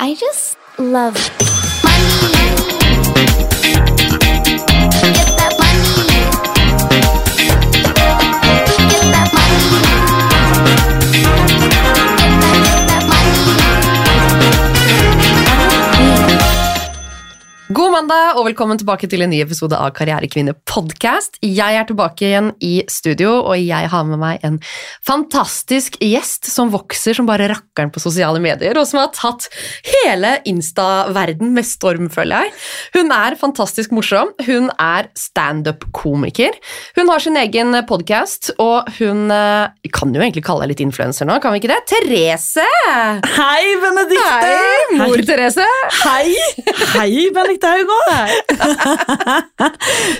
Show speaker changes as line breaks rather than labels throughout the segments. I just love
God mandag og velkommen tilbake til en ny episode av Karrierekvinne podcast. Jeg er tilbake igjen i studio, og jeg har med meg en fantastisk gjest som vokser som bare rakkeren på sosiale medier, og som har tatt hele Insta-verden med storm, føler jeg. Hun er fantastisk morsom, hun er stand-up-komiker, hun har sin egen podcast, og hun eh, vi kan jo egentlig kalle deg litt influencer nå, kan vi ikke det? Therese!
Hei, Benedikte!
Hei, mor Therese!
Hei, hei Benedikte Haugård!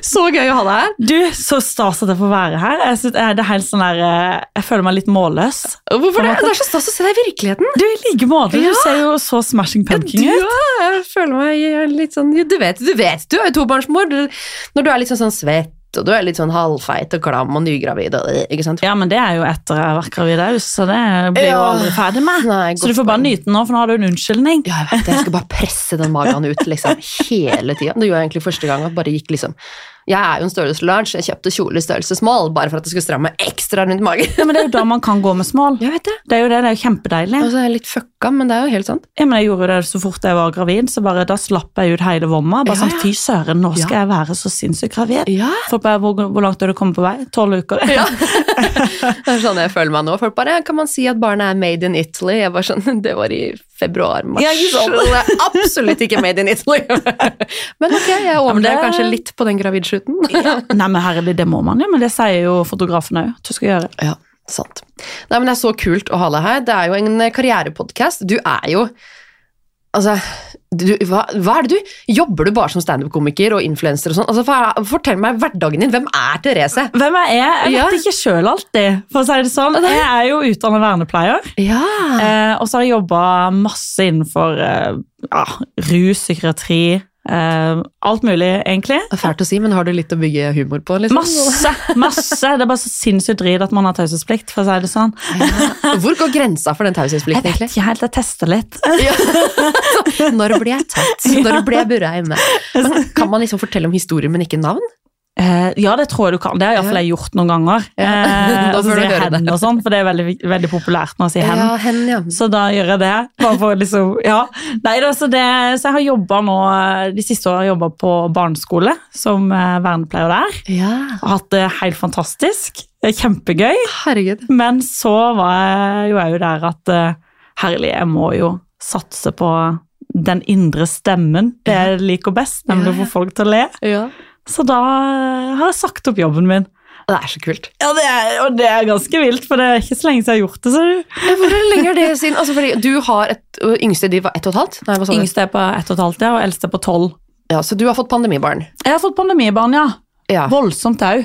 Så gøy å ha deg her.
Du, så stas at jeg får være her. Jeg, synes, eh, det er helt sånn der, eh, jeg føler meg litt målløs.
Hvorfor
På en
det?
måte.
Det er så stas å se deg i virkeligheten.
Du, i like måte.
Ja.
Du ser jo så smashing pumpkin ut.
ja, jeg føler meg litt sånn Du vet, du vet, du er jo tobarnsmor. Du- Når du er litt sånn, sånn svett, og du er litt sånn halvfeit og klam og nygravid og ikke sant?
Ja, men det er jo etter jeg har vært gravid òg, så det blir jo
Ja.
aldri ferdig med.
Nei,
Så du
godt
får bare
poeng.
nyte den nå, for nå har du en unnskyldning.
Ja, jeg vet det. Jeg skal bare presse den magen ut liksom, hele tida. Det gjorde jeg egentlig første gang. at bare gikk liksom... Jeg er jo en størrelse large, jeg kjøpte kjole i størrelse small bare for at det skulle stramme ekstra rundt magen.
Ja, men det er jo da man kan gå med smål.
Jeg vet det.
Det er jo det, det er jo kjempedeilig.
Og så er jeg litt fucka, men det er jo helt sant.
Ja, men jeg gjorde det så fort jeg var gravid, så bare da slapp jeg ut hele vomma. Bare
Ja,
sånn,
ja.
fy søren, nå skal
Ja.
jeg være så sinnssykt gravid.
Ja.
Folk bare, hvor, hvor langt er du kommet på vei? Tolv uker?
Ja. Det er sånn jeg føler meg nå. Folk bare, kan man si at barnet er made in Italy? Jeg var sånn, det var i februar-mars.
Ja, ikke sant?
det er absolutt ikke made in Italy. Men ok, jeg
men det-
overdrev kanskje litt på den gravidskjuten.
Nei, men herlig, det må man jo, men det sier jo fotografen òg. Du skal gjøre det.
Ja, sant. Nei, men det er så kult å ha deg her. Det er jo en karrierepodcast. Du er jo, altså, du, hva, hva er det du? Jobber du bare som stand-up-komiker og influencer og sånn? Altså, for- fortell meg hverdagen din. Hvem er Therese?
Hvem er jeg? Jeg
Ja.
vet ikke sjøl alltid, for å si det sånn. Jeg er jo utdannet vernepleier,
Ja.
eh, og så har jeg jobba masse innenfor eh, ja, rus, psykiatri, eh, alt mulig, egentlig.
Eh, Fælt å si, men har du litt å bygge humor på? Liksom?
Masse, masse! Det er bare så sinnssykt drit at man har taushetsplikt, for å si det sånn.
Ja. Hvor går grensa for den
Jeg
taushetsplikten,
vet
egentlig?
ikke helt, jeg tester litt.
Så, Når blir jeg tatt? Når blir jeg burra inne? Men Kan man liksom fortelle om historier, men ikke navn?
Eh, ja, det tror jeg du kan. Det har iallfall jeg gjort noen ganger.
Ja.
Eh,
Da
og så
bør du
sier jeg
gjøre det.
hen og sånn, for det er veldig, veldig populært nå å si hen.
hen, ja.
Så da gjør jeg det. Bare for å liksom, ja. Nei, da, så, det, så jeg har jobba nå eh, De siste årene har jeg jobba på barneskole som eh, vernepleier der.
Ja,
Og hatt det helt fantastisk. Det er Kjempegøy.
herregud.
Men så var jeg jo òg der at eh, herlig, jeg må jo satse på den indre stemmen. Det jeg liker best, nemlig
Ja,
å
ja.
få folk til å le.
Ja.
Så da eh, har jeg sagt opp jobben min.
Det er så kult.
Ja, det er, Og det er ganske vilt, for det er ikke så lenge siden jeg har gjort det. ser du.
Hvor lenge er det siden? Altså, fordi du har et ø, yngste, de var ett og et halvt? Nei, hva sa du?
Yngste er på ett og et halvt, ja, og eldste er på tolv.
Ja, så du har fått pandemibarn.
Jeg har fått pandemibarn, ja.
Ja.
Voldsomt au.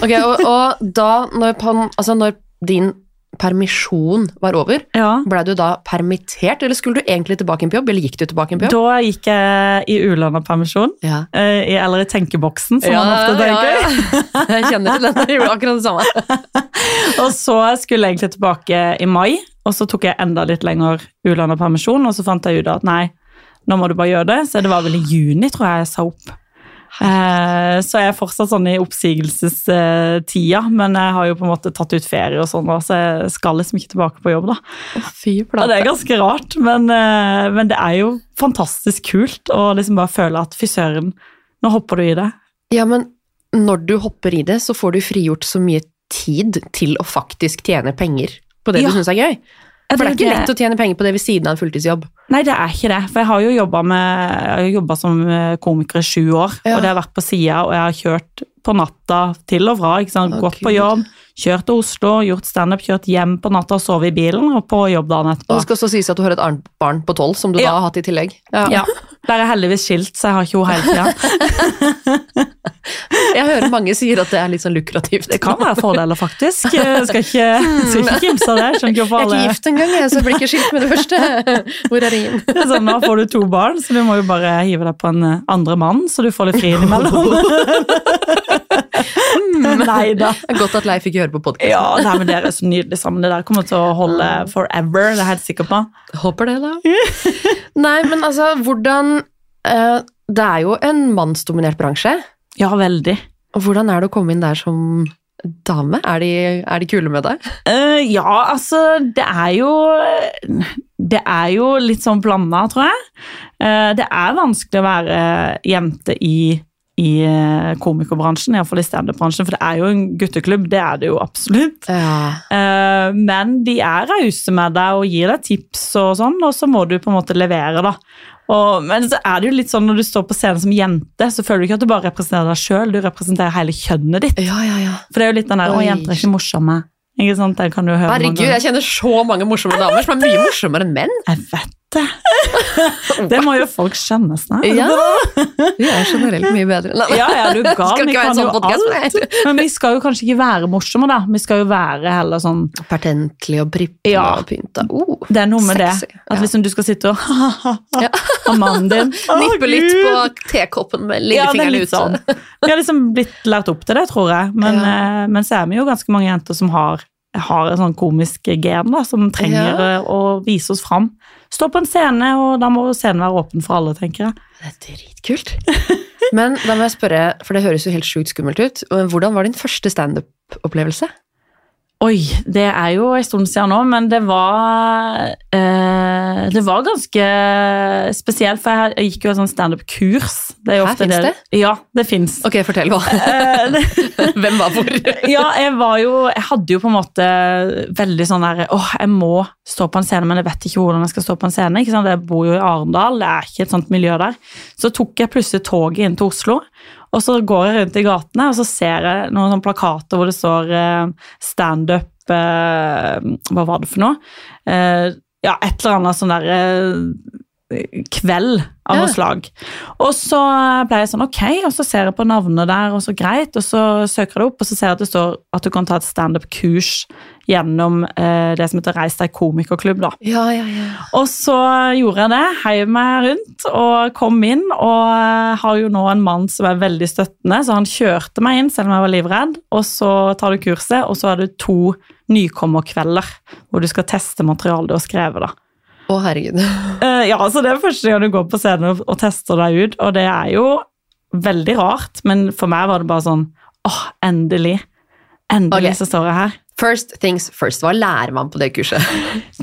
Ok, og, og da, når, pan, altså, når din permisjon var over,
Ja.
blei du da permittert, eller skulle du egentlig tilbake igjen på jobb, eller gikk du tilbake igjen på jobb?
Da gikk jeg i ulønna permisjon,
Ja.
eh, i- eller i tenkeboksen, som man ofte tenker.
ja. Jeg kjenner til den, jeg gjorde akkurat det samme.
Og så skulle jeg egentlig tilbake i mai, og så tok jeg enda litt lenger ulønna permisjon, og så fant jeg ut at nei, nå må du bare gjøre det. Så det var vel i juni, tror jeg jeg sa opp. Eh, Så jeg er fortsatt sånn i oppsigelsestida, men jeg har jo på en måte tatt ut ferie og sånn, da, så jeg skal liksom ikke tilbake på jobb, da.
Fy
Ja, det er ganske rart, men, eh, men det er jo fantastisk kult å liksom bare føle at fy søren, nå hopper du i det.
Ja, men når du hopper i det, så får du frigjort så mye tid til å faktisk tjene penger på det
Ja.
du syns er gøy. For det er ikke lett
å
å tjene penger på det ved siden av en fulltidsjobb.
Nei, det er ikke det. For jeg har jo jobba med Jeg har jo jobbet som eh, komiker i sju år,
Ja.
og det har vært på sida, og jeg har kjørt på natta til og fra. ikke sant?
Å,
Gått på
Gud.
jobb, kjørt til Oslo, gjort standup, kjørt hjem på natta og sovet i bilen, og på jobb dagen
Og
etterpå.
det skal også sies at du har et annet barn på tolv som du da
Ja.
har hatt i tillegg. Ja.
Ja, Der er jeg heldigvis skilt, så jeg har ikke henne hele tida.
Jeg hører mange sier at det er litt sånn lukrativt.
Det kan være fordeler, faktisk. Jeg skal ikke, skal ikke kimse av det. Jeg Skjønner ikke hvorfor
Mm. Jeg er
alle
ikke gift engang, jeg, så jeg blir ikke skilt med det første. Hvor er ringen?
Det er sånn, Nå får du to barn, så du må jo bare hive deg på en eh, andre mann, så du får litt fri innimellom. Mm. Nei da.
Godt at Leif ikke hører på podkasten.
Ja, nei, men dere er så nydelige sammen. Det der kommer til å holde forever, det er jeg helt sikker på.
Håper det, da. Nei, men altså, hvordan eh, Det er jo en mannsdominert bransje.
Ja, veldig.
Og hvordan er det å komme inn der som dame? Er de, er de kule med deg?
Eh, ja, altså, det er jo Det er jo litt sånn blanda, tror jeg. Eh, det er vanskelig å være jente i, i eh, komikerbransjen, iallfall i standup-bransjen, for det er jo en gutteklubb, det er det jo absolutt.
Ja.
Eh, men de er rause med deg og gir deg tips og sånn, og så må du på en måte levere, da. Og, men så er det jo litt sånn når du står på scenen som jente, så føler du ikke at du bare representerer deg sjøl, du representerer hele kjønnet ditt.
ja, ja, ja.
For det er jo litt den der 'Å,
Oi.
jenter er ikke morsomme'. Ikke sant? Den kan du jo høre mange
Herregud,
ganger.
jeg kjenner så mange morsomme damer som er mye morsommere enn menn.
Jeg vet det. Det må jo folk skjønne snart.
Ja! Vi er generelt mye bedre. Nei,
Ja, ja, du er gal.
Skal
Vi
ikke være
kan
en sånn
jo
podcast,
alt.
nei.
Men vi skal jo kanskje ikke være morsomme, da. Vi skal jo være heller sånn
Pertentlig og prippende
Ja.
og pynta. Oh.
Det er noe med
Sexy,
det. At
ja.
liksom du skal sitte og Og mannen din Å,
Nippe Uh, litt
Gud.
på tekoppen med
Ja, det er
lillefingeren
litt
ute.
sånn. Vi har liksom blitt lært opp til det, tror jeg. Men, eh, men så er vi jo ganske mange jenter som har, har en sånn komisk gen, da, som trenger eh, å vise oss fram. Stå på en scene, og da må scenen være åpen for alle, tenker jeg.
Det er dritkult. Men da må jeg spørre, for det høres jo helt sjukt skummelt ut, men hvordan var din første standup-opplevelse?
Oi, det er jo en stund siden nå, men det var eh, Det var ganske spesielt, for jeg har- jeg gikk jo et sånt standup-kurs. Det er jo
Hæ,
ofte
finnes
Ja, det fins.
Ok, fortell hva. Hvem var hvor?
ja, jeg var jo Jeg hadde jo på en måte veldig sånn der Åh, jeg må stå på en scene, men jeg vet ikke hvordan jeg skal stå på en scene. Ikke sant? Jeg bor jo i Arendal, det er ikke et sånt miljø der. Så tok jeg plutselig toget inn til Oslo, og så går jeg rundt i gatene, og så ser jeg noen sånne plakater hvor det står eh, standup eh, Hva var det for noe? Eh, ja, et eller annet sånn der eh, kveld av
Ja.
noe slag. Og så ble jeg sånn, ok, og så ser jeg på navnet der, og så greit, og så søker jeg det opp, og så ser jeg at det står at du kan ta et stand-up-kurs gjennom eh, det som heter Reis deg komikerklubb, da.
Ja, ja, ja.
Og så gjorde jeg det, heiv meg rundt og kom inn, og eh, har jo nå en mann som er veldig støttende, så han kjørte meg inn selv om jeg var livredd, og så tar du kurset, og så er det to nykommerkvelder, hvor du skal teste materialet du har skrevet, da.
Å, herregud.
Eh, ja, altså det er første gang du går på scenen og, og tester deg ut, og det er jo veldig rart, men for meg var det bare sånn, åh, endelig. Endelig
Ok.
så står jeg her.
First things first. Hva lærer man på det kurset?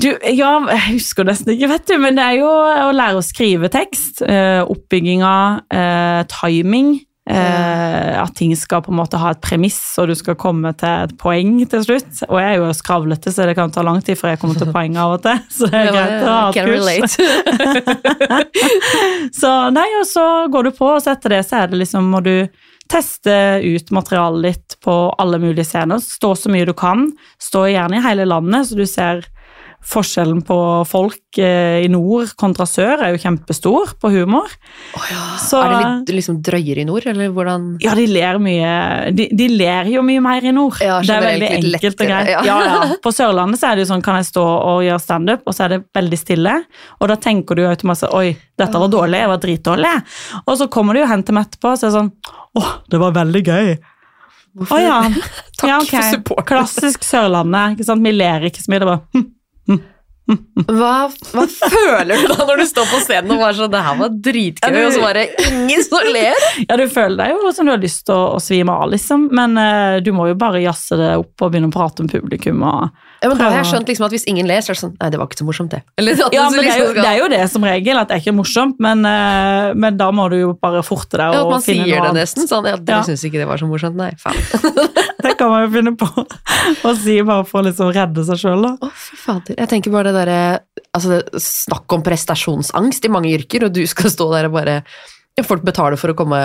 Du, ja, jeg husker nesten ikke, vet du, men det er jo å lære å skrive tekst, eh, oppbygginga, eh, timing, eh, at ting skal på en måte ha et premiss, og du skal komme til et poeng til slutt. Og jeg er jo skravlete, så det kan ta lang tid før jeg kommer til poenget av og til, så det er greit å ha et
Can
kurs.
relate.
Så nei, og så går du på, og så etter det så er det liksom, må du teste ut materialet ditt på alle mulige scener. Stå så mye du kan. Stå gjerne i hele landet, så du ser forskjellen på folk eh, i nord kontra sør er jo kjempestor på humor. Så-
Er det litt liksom drøyere i nord, eller hvordan?
Ja, de ler mye De, de ler jo mye mer i nord.
Ja,
det er
generelt
veldig
litt
enkelt og
lettere,
greit.
ja.
Ja. Ja, På Sørlandet så er det jo sånn kan jeg stå og gjøre standup, og så er det veldig stille. Og da tenker du jo automatisk oi, dette var dårlig, jeg var dritdårlig. Og så kommer du jo hen til meg etterpå og så er det sånn å, det var veldig gøy. Å
Hvorfor?
ja.
Takk
ja,
for supporten.
Klassisk Sørlandet. ikke sant? Vi ler ikke så mye. det er bare, hm.
Hva, hva føler du da når du står på scenen og bare sånn, det her var
Ja,
dritgøy,
du-
og så bare ingen som ler?
Ja, du føler deg jo som du har lyst til å, å svime av, liksom, men eh, du må jo bare jazze det opp og begynne å prate med publikum. og...
Ja, men da har jeg skjønt liksom at hvis ingen ler, så er det sånn, nei, det var ikke så morsomt det. Eller at
Ja,
man
men det er, jo,
liksom skal-
det er jo det som regel, at det er ikke morsomt, men, eh, men da må du jo bare forte deg
Ja, at
og
man
finne
sier
noe
det
annet.
nesten sånn. Ja, dere
Ja.
syns ikke det var så morsomt, nei. Faen.
Det kan man jo finne på å si bare for å liksom redde seg sjøl, da.
Å, fy fader. Jeg tenker bare det derre altså, det- Snakk om prestasjonsangst i mange yrker, og du skal stå der og bare ja, Folk betaler for å komme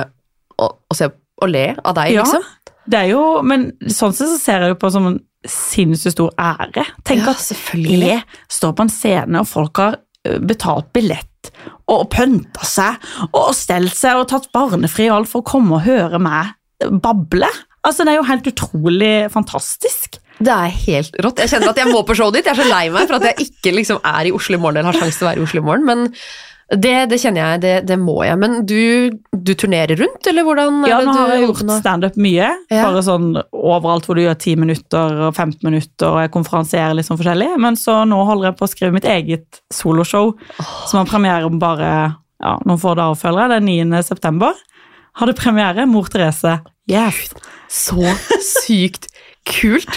og, og se og le av deg,
Ja,
liksom.
Det er jo, men sånn sett så ser jeg det på som en sinnssykt stor ære. Tenk at
selvfølgelig.
le står på en scene, og folk har eh, betalt billett. Og pønta seg, og stelt seg, og tatt barnefri og alt for å komme og høre meg bable. Altså, det er jo helt utrolig fantastisk.
Det er helt rått. Jeg kjenner at jeg må på showet ditt. Jeg er så lei meg for at jeg ikke liksom er i Oslo i morgen eller har sjanse til å være i Oslo i morgen. Men det, det kjenner jeg, det, det må jeg. Men du, du turnerer rundt, eller hvordan? er
Ja,
det
nå
du
har jeg gjort
nå?
standup mye.
Ja.
Bare sånn overalt hvor du gjør 10 minutter og 15 minutter, og jeg konferansierer litt sånn forskjellig. Men så nå holder jeg på å skrive mitt eget soloshow, som har premiere om bare ja, noen få dager, føler jeg. Den 9. september har det premiere. Mor Therese. Yes.
Så sykt kult.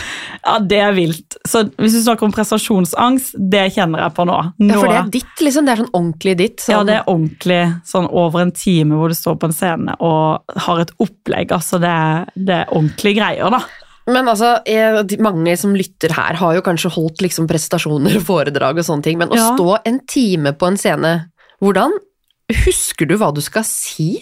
Ja, det er vilt. Så hvis du snakker om prestasjonsangst, det kjenner jeg på nå. nå
Ja, for det er ditt, liksom. Det er sånn ordentlig ditt. Sånn.
Ja, det er ordentlig sånn over en time hvor du står på en scene og har et opplegg. Altså, det er, det er ordentlige greier, da.
Men altså, eh, de- mange som lytter her har jo kanskje holdt liksom prestasjoner og foredrag og sånne ting, men å
Ja.
stå en time på en scene, hvordan husker du hva du skal si?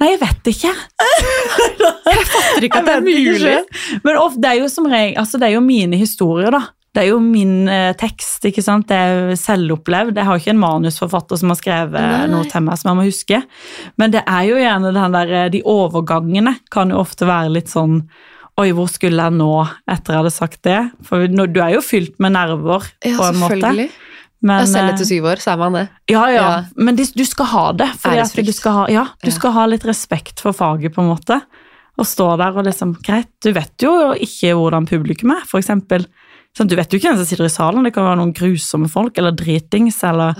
Nei, jeg vet ikke.
Fatter ikke
Jeg vet ikke selv. Men of, det er jo som regel altså, Det er jo mine historier, da. Det er jo min eh, tekst, ikke sant. Det er jo selvopplevd. Jeg har jo ikke en manusforfatter som har skrevet
Nei.
noe til meg som jeg må huske. Men det er jo gjerne den der eh, De overgangene kan jo ofte være litt sånn Oi, hvor skulle jeg nå etter jeg hadde sagt det? For nå- du er jo fylt med nerver,
Ja,
på en måte.
selvfølgelig.
Men,
Ja, selv
eh,
etter syv år, så er man det.
Ja, ja,
Ja.
men de, du skal ha det. Fordi at
Æresfrykt.
du skal ha, ja, du
Ja.
skal ha litt respekt for faget, på en måte. Og stå der og liksom Greit, du vet jo ikke hvordan publikum er, for eksempel. Sånn, du vet jo ikke hvem som sitter i salen, det kan være noen grusomme folk, eller dritings, eller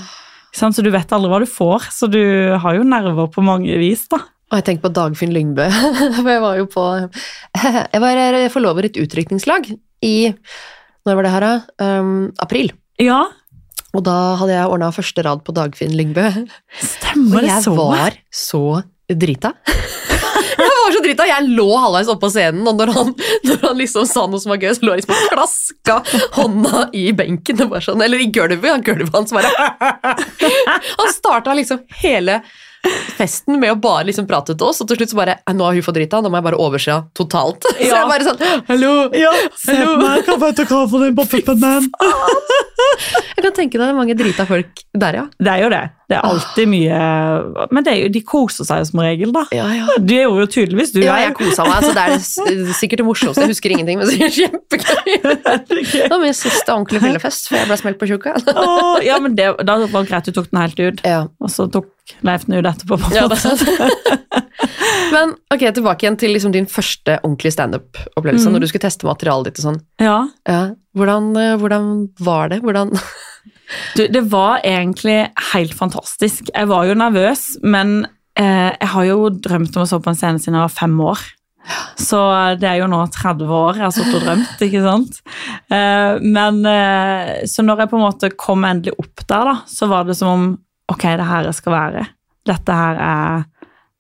sånn, Så du vet aldri hva du får, så du har jo nerver på mange vis, da.
Og jeg tenker på Dagfinn Lyngbø, for jeg var jo på Jeg var forlover i et utrykningslag i Når var det her, da? Um, april.
Ja,
Og da hadde jeg ordna første rad på Dagfinn Lyngbø.
stemmer
Og
det
jeg
så?
var så drita. Jeg var så drita, jeg lå halvveis oppe på scenen, og når han, når han liksom sa noe som var gøy, så lå jeg liksom og klaska hånda i benken, det var sånn, eller i gulvet, han gulvet hans bare Han starta liksom hele festen med å bare liksom prate til oss, og til slutt så bare «Nei, Nå har hun fått drita, nå må jeg bare overse henne totalt. Så
Ja.
jeg bare sånn Hallo!
Ja, se på meg, hva vet du hva for den på puppen min?
Jeg kan tenke deg det er mange drita folk der, ja.
Det er jo det. Det er alltid mye Men det er jo, de koser seg jo som regel, da.
Ja, ja.
Du gjorde jo tydeligvis du
Ja,
er
jeg kosa meg, så det er det s- sikkert det morsomste. Jeg husker ingenting, men det er kjempegøy. Det var min siste ordentlige fyllefest før jeg ble smelt på tjukka.
Åh, ja, men det, da var det greit du tok den helt ut,
Ja,
og så tok Leif den ut etterpå. på en
ja, det er
måte.
sant. Men ok, tilbake igjen til liksom din første ordentlige standup-opplevelse,
Mhm.
når du skulle teste materialet ditt og sånn.
ja.
Mm. Ja. Hvordan, eh, hvordan var det? Hvordan
Du, det var egentlig helt fantastisk. Jeg var jo nervøs, men eh, jeg har jo drømt om å stå på en scene siden jeg var fem år. Så det er jo nå 30 år jeg har sittet og drømt, ikke sant. Eh, men eh, Så når jeg på en måte kom endelig opp der, da, så var det som om ok, det er her jeg skal være. Dette her er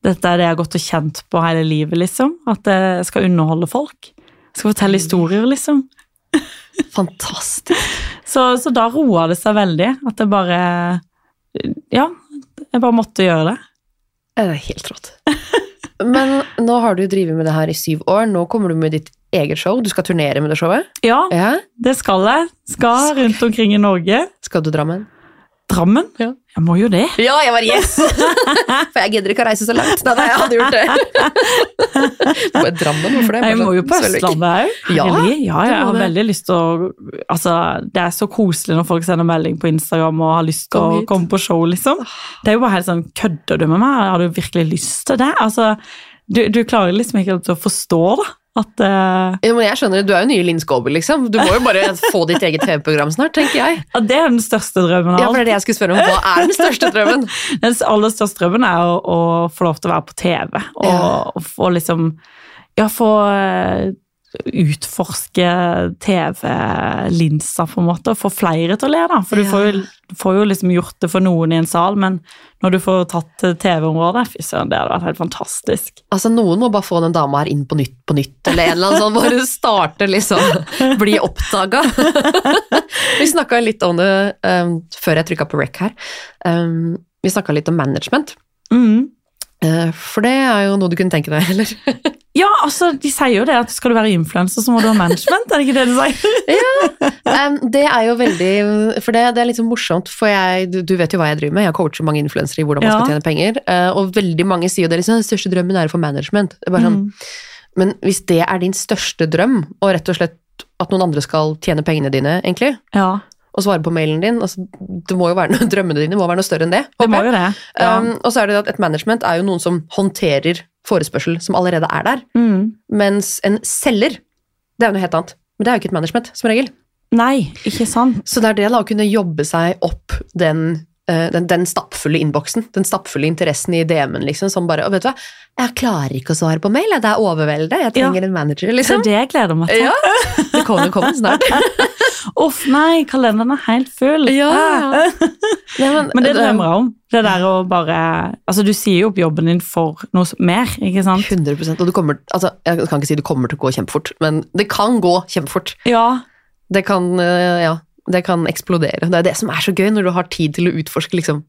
dette er det jeg har gått og kjent på hele livet, liksom. At jeg skal underholde folk. Jeg skal fortelle historier, liksom.
fantastisk!
Så, så da roa det seg veldig. At jeg bare Ja, jeg bare måtte gjøre det.
Ja, Det er helt rått. Men nå har du drevet med det her i syv år. Nå kommer du med ditt eget show. Du skal turnere med det showet.
Ja,
Ja.
det skal jeg. Skal rundt omkring i Norge.
Skal du Drammen?
Drammen?
Ja.
Jeg må jo det.
Ja, jeg var yes! For jeg gidder ikke å reise så langt. Nei, nei, jeg hadde gjort det. Du bare Drammen, hvorfor det?
Jeg må jo på
Bare sånn, Sølvik.
Østlandet òg.
Ja,
ja, jeg
du må
har
det.
veldig lyst til å Altså, det er så koselig når folk sender melding på Instagram og har lyst til
Kom
å
hit.
komme på show, liksom. Det er jo bare helt sånn Kødder du med meg? Har du virkelig lyst til det? Altså, du, du klarer liksom ikke helt å forstå, da, at eh,
Ja, men jeg skjønner det. Du er jo nye Linn Skåber, liksom. Du må jo bare få ditt eget TV-program snart, tenker jeg.
at det er den største drømmen av
Ja,
alt.
for det er det jeg skulle spørre om. Hva er den største drømmen?
Den aller største drømmen er å, å få lov til å være på TV, og,
Ja.
og få liksom Ja, få eh, utforske TV-linsa, på en måte, og få flere til å le, da. For du
Ja.
får, jo, du får jo liksom gjort det for noen i en sal, men når du får tatt til TV-området Fy søren, det hadde vært helt fantastisk.
Altså, noen må bare få den dama her inn på nytt på nytt, eller en eller annen sånn. Bare starte, liksom. Bli oppdaga. Vi snakka litt om det um, før jeg trykka på rec her. Um, vi snakka litt om management,
Mm.
Eh, for det er jo noe du kunne tenke deg, eller?
Ja, altså, de sier jo det at skal du være influenser, så må du ha management, er det ikke det de sier?
Em, det er jo veldig For det, det er litt sånn morsomt, for jeg, du, du vet jo hva jeg driver med. Jeg coacher mange influensere i hvordan
Ja.
man skal tjene penger. eh, og veldig mange sier jo det liksom, den største drømmen er å få management. Det er bare sånn,
Mm.
Men hvis det er din største drøm, og rett og slett at noen andre skal tjene pengene dine, egentlig,
Ja,
og svare på mailen din altså, det må jo være noe, Drømmene dine må være noe større enn det.
det
håper
må
jeg.
jo det. Ja.
Um, og så er det at et management er jo noen som håndterer forespørsel som allerede er der,
Mm.
mens en selger, det er jo noe helt annet. Men det er jo ikke et management, som regel.
Nei, ikke sant.
Så det er det da å kunne jobbe seg opp den, eh, den, den stappfulle innboksen, den stappfulle interessen i DM-en, liksom, som bare «Å, Vet du hva, jeg klarer ikke å svare på mail, jeg. det er overveldet, jeg trenger en manager,
Det
liksom.
er det jeg gleder meg til.
Ja, det kommer jo komme snart.
Uff, nei, kalenderen er helt full.
Ja.
Ah.
Ja,
Men det drømmer jeg om. Det der å bare Altså, du sier jo opp jobben din for noe s- mer, ikke sant?
100 og du kommer, altså, Jeg kan ikke si det kommer til å gå kjempefort, men det kan gå kjempefort.
Ja.
Det kan, eh, ja, det kan eksplodere. Det er det som er så gøy, når du har tid til å utforske liksom.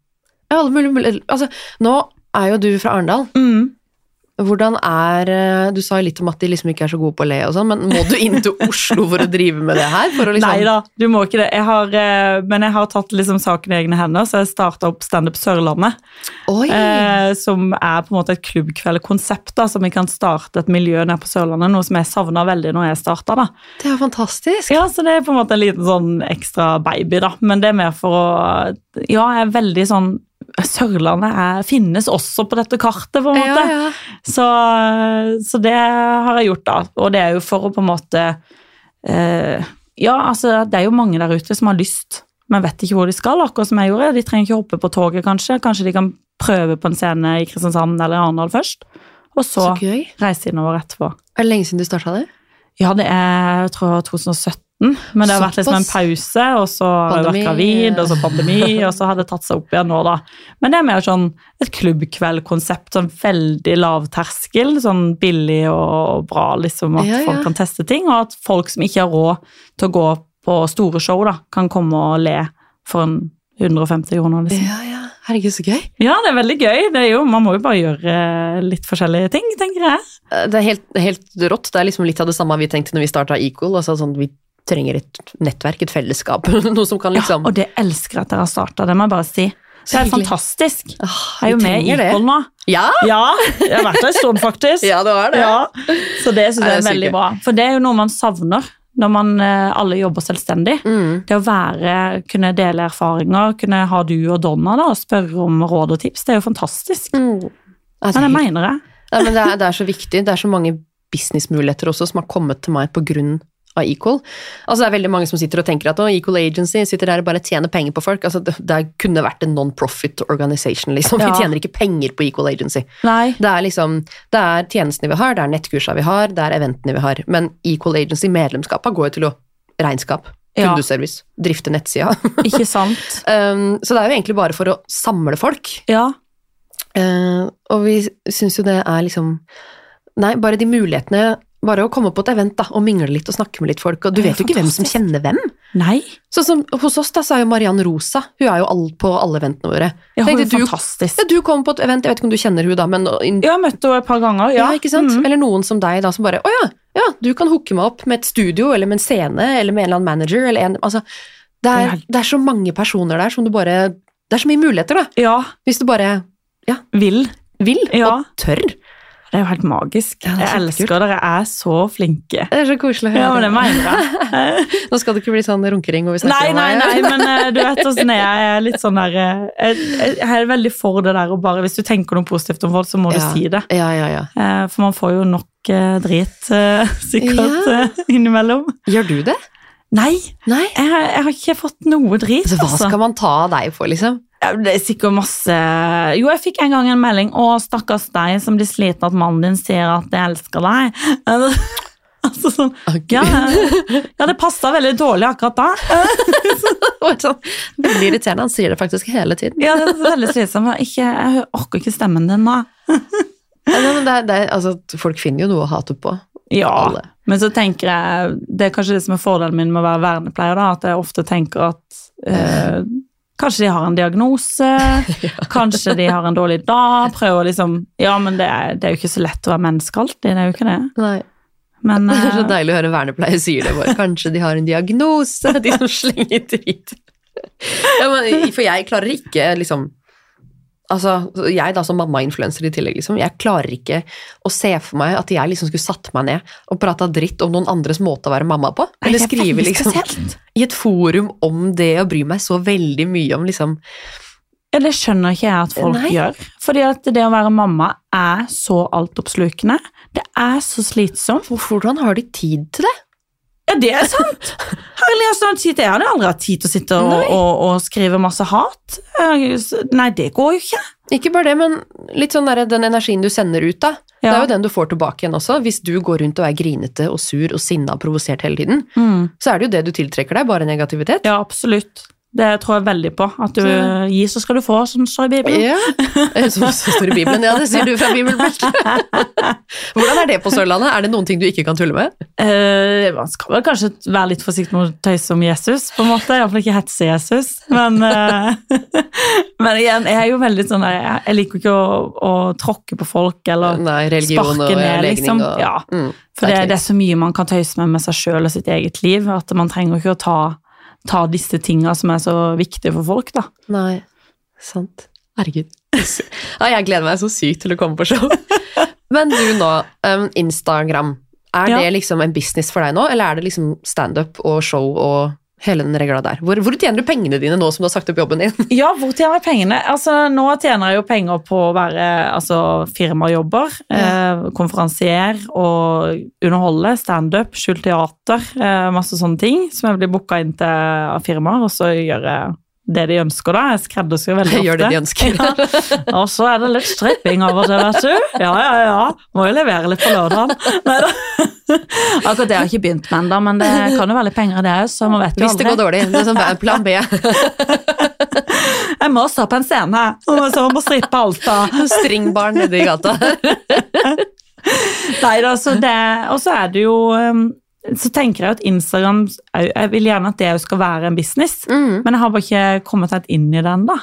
ja, alle mulige, mulige- altså, Nå er jo du fra Arendal.
Mm.
Hvordan er eh, Du sa jo litt om at de liksom ikke er så gode på å le, og sånn, men må du inn til Oslo for å drive med det her? For å liksom,
Nei da, du må ikke det. Jeg har, eh, men jeg har tatt liksom saken i egne hender, så jeg starta opp Standup Sørlandet.
Oi!
Eh, som er på en måte et klubbkveldkonsept da, som vi kan starte et miljø nede på Sørlandet, noe som jeg savna veldig når jeg starta. da.
Det er jo fantastisk.
Ja, så det er på en måte en liten sånn ekstra baby, da. Men det er mer for å Ja, jeg er veldig sånn Sørlandet er, finnes også på dette kartet, på en måte.
ja.
Så, så det har jeg gjort, da. Og det er jo for å på en måte eh, Ja, altså, det er jo mange der ute som har lyst, men vet ikke hvor de skal, akkurat som jeg gjorde. De trenger ikke hoppe på toget, kanskje. Kanskje de kan prøve på en scene i Kristiansand eller Arendal først, og så,
Så gøy.
reise innover etterpå.
Er det lenge siden du starta det?
Ja, det er jeg tror 2017, men det har vært liksom en
Såpass.
pause, og så har jeg
Pandemi.
vært gravid, og så pandemi, og så har det tatt seg opp igjen nå, da. Men det er mer sånn et klubbkveldkonsept, sånn veldig lavterskel, sånn billig og bra, liksom, at
Ja, ja.
folk kan teste ting, og at folk som ikke har råd til å gå på store show, da, kan komme og le for en 150 kroner, liksom.
Ja, ja. Herregud, så gøy.
Ja, det er veldig gøy. Det er jo, man må jo bare gjøre litt forskjellige ting, tenker jeg.
Eh, Det er helt, helt rått. Det er liksom litt av det samme vi tenkte når vi starta Equal. Altså sånn, vi trenger et nettverk, et fellesskap. Noe som kan liksom
Ja, og det elsker jeg at dere har starta, det må jeg bare si. Det er
hyggelig.
fantastisk.
Ah,
Jeg er jo
vi
med i
trenger det.
Equal nå.
Ja,
Ja, jeg har vært der en stund, faktisk.
ja, det var det.
Ja, Så det syns
Nei, det
jeg
er
er
så
veldig
gøy.
bra. For det er jo noe man savner når man eh, alle jobber selvstendig.
Mm.
Det å være, kunne dele erfaringer, kunne ha du og Donna da, og spørre om råd og tips, det er jo fantastisk.
Altså,
Men det
helt-
mener jeg.
Nei, men det, er, det er så viktig. Det er så mange businessmuligheter også som har kommet til meg på grunn av Equal. Altså, det er veldig mange som sitter og tenker at å, Equal Agency sitter der og bare tjener penger på folk. Altså, det, det kunne vært en non-profit organization, liksom.
Ja.
Vi tjener ikke penger på Equal Agency.
Nei.
Det er liksom, det er tjenestene vi har, det er nettkursene vi har, det er eventene vi har. Men Equal Agency-medlemskapene går jo til å regnskap,
Ja.
kundeservice, drifte nettsida.
Ikke sant.
um, så det er jo egentlig bare for å samle folk.
Ja.
Eh, og vi syns jo det er liksom Nei, bare de mulighetene Bare å komme på et event da, og mingle litt og snakke med litt folk. Og du
Det er
vet jo ikke hvem som
fantastisk.
kjenner hvem.
Nei.
Sånn som hos oss da, så er jo Mariann Rosa. Hun er jo all, på alle eventene våre.
Ja, hun
Tenkte
er
du-
fantastisk.
Ja, du kom på et event, jeg vet ikke om du kjenner hun da, men in, ja,
Ja, jeg møtte henne et par ganger. Ja,
ikke sant?
Mhm.
Eller noen som deg da, som bare Å ja, ja, du kan hooke meg opp med et studio, eller med en scene, eller med en eller annen manager, eller en Altså, det
Det er
er, det er så mange personer der som du bare Det er så mye muligheter, da.
Ja.
Hvis du bare
Vil.
vil,
Ja.
og tør.
Det er jo helt magisk.
Ja, det er
jeg
kjempekult.
elsker dere. er så flinke.
Det er så koselig å høre.
Ja, men det mener jeg.
Nå skal det ikke bli sånn runkering hvor vi snakker
Nei,
om
nei,
meg.
nei, men eh, du vet åssen jeg er. Jeg er litt sånn der eh, Jeg jeg er veldig for det der å bare Hvis du tenker noe positivt om folk, så må du
Ja.
si det.
Ja, ja, ja.
Eh, For man får jo nok eh, drit eh, sikkert
Ja.
eh, innimellom.
Gjør du det?
Nei,
Nei.
jeg, har- jeg har ikke fått noe drit,
Altså, hva
altså.
skal man ta av deg for, liksom?
Ja, Det er sikkert masse Jo, jeg fikk en gang en melding. 'Å, stakkars deg som blir sliten av at mannen din sier at jeg elsker deg'. Altså sånn
Ok.
Ja, ja det passa veldig dårlig akkurat da.
Det var sånn, Veldig irriterende. Han sier det faktisk hele tiden.
Ja, det er veldig slitsomt. Jeg, ikke, jeg orker ikke stemmen din da.
Ja, nei, men det, er- det, er- altså, folk finner jo noe å hate på.
Ja,
Alle.
men så tenker jeg, det er kanskje det som er fordelen min med å være vernepleier, da, at jeg ofte tenker at eh, kanskje de har en diagnose, kanskje de har en dårlig dag, prøver å liksom, ja, men det er, det er jo ikke så lett å være menneske alltid, det er jo ikke det.
Nei.
Men,
Det er så
eh,
deilig å høre vernepleier sier det. Bare. Kanskje de har en diagnose, de som slenger dritt. Ja, men, for jeg klarer ikke liksom altså, jeg da som mamma-influencer i tillegg, liksom, jeg klarer ikke å se for meg at jeg liksom skulle satt meg ned og prata dritt om noen andres måte å være mamma på.
Nei,
Eller
det er
skrive
veldig
liksom
spesielt.
i et forum om det og bry meg så veldig mye om liksom
Ja, det skjønner ikke jeg at folk
Nei.
gjør. Fordi at det å være mamma er så altoppslukende. Det er så slitsomt.
Hvordan har de tid til det?
Ja, det er sant! Herlig, altså, jeg hadde aldri hatt tid til å sitte og,
Nei.
og, og skrive masse hat. Jeg- Nei, det går jo ikke.
Ikke bare det, men litt sånn der, den energien du sender ut, da. Det
Ja.
er jo den du får tilbake igjen også. Hvis du går rundt og er grinete og sur og sinna og provosert hele tiden,
Mm.
så er det jo det du tiltrekker deg, bare negativitet.
Ja, absolutt. Det tror jeg veldig på. At du
Så-
gir, så skal du få, som det står i Bibelen.
Ja. Eh, Som det står i Bibelen. Ja, det sier du fra bibelbeltet. Hvordan er det på Sørlandet? Er det noen ting du ikke kan tulle med?
Eh, man skal vel kanskje være litt forsiktig med å tøyse om Jesus, på en måte. Iallfall ikke hetse Jesus. Men, eh, men igjen, jeg er jo veldig sånn Jeg, jeg liker jo ikke å, å tråkke på folk eller
Nei, religion
sparke
og
ned, liksom.
legning og
Ja,
mm,
For
det er
det, det er så mye man kan tøyse med med seg sjøl og sitt eget liv, at man trenger ikke å ta, ta disse tinga som er så viktige for folk, da.
Nei, sant. Herregud. Ja, jeg gleder meg så sykt til å komme på show. Men du nå, um, Instagram. Er
Ja.
det liksom en business for deg nå, eller er det liksom standup og show og hele den regla der? Hvor, hvor tjener du pengene dine nå som du har sagt opp jobben din?
Ja, hvor tjener jeg pengene? Altså, nå tjener jeg jo penger på å være altså, firmajobber, eh, konferansier og underholde, standup, skjult teater, eh, masse sånne ting som jeg blir booka inn til av firmaer, og så gjør jeg det de ønsker da. Jeg skreddersyr veldig ofte.
Gjør det de ønsker.
Ja. Og så er det litt stripping av og til, vet du. Ja, ja, ja. Må jo levere litt på lørdagen. Neida. Akkurat det har jeg ikke begynt med ennå, men det kan jo være litt penger i det òg, så man vet jo
Hvis det
aldri.
går dårlig. Det er sånn hver plan B.
Jeg må stå på en scene, og så må strippe Alta.
Sånn Stringbarn nede i gata.
Nei da, så det Og så er det jo um, Så tenker jeg at Instagram er jo- Jeg vil gjerne at det jo skal være en business,
Mm.
men jeg har bare ikke kommet helt inn i den, da.